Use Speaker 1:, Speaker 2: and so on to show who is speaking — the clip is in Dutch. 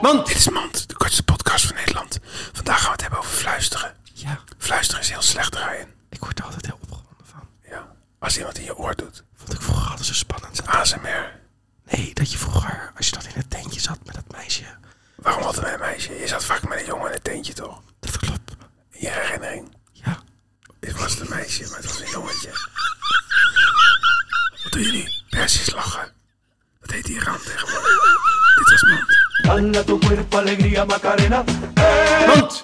Speaker 1: Mand.
Speaker 2: Dit is Mand, de kortste podcast van Nederland. Vandaag gaan we het hebben over fluisteren.
Speaker 1: Ja,
Speaker 2: Fluisteren is heel slecht, Ryan.
Speaker 1: ik word er altijd heel opgewonden van.
Speaker 2: Ja. Als iemand in je oor doet.
Speaker 1: Vond ik vroeger altijd zo spannend.
Speaker 2: ASMR.
Speaker 1: Nee, dat je vroeger, als je dan in het tentje zat met dat meisje.
Speaker 2: Waarom altijd met een meisje? Je zat vaak met een jongen in het tentje, toch?
Speaker 1: Dat klopt.
Speaker 2: In je herinnering.
Speaker 1: Ja.
Speaker 2: Dit was een meisje, maar het was een jongetje. Wat doen jullie? Persisch lachen. Dat heet Iran tegenwoordig. Dit was Mand.
Speaker 3: Anda tu cuerpo alegría Macarena. ¡Eh!
Speaker 2: Mand!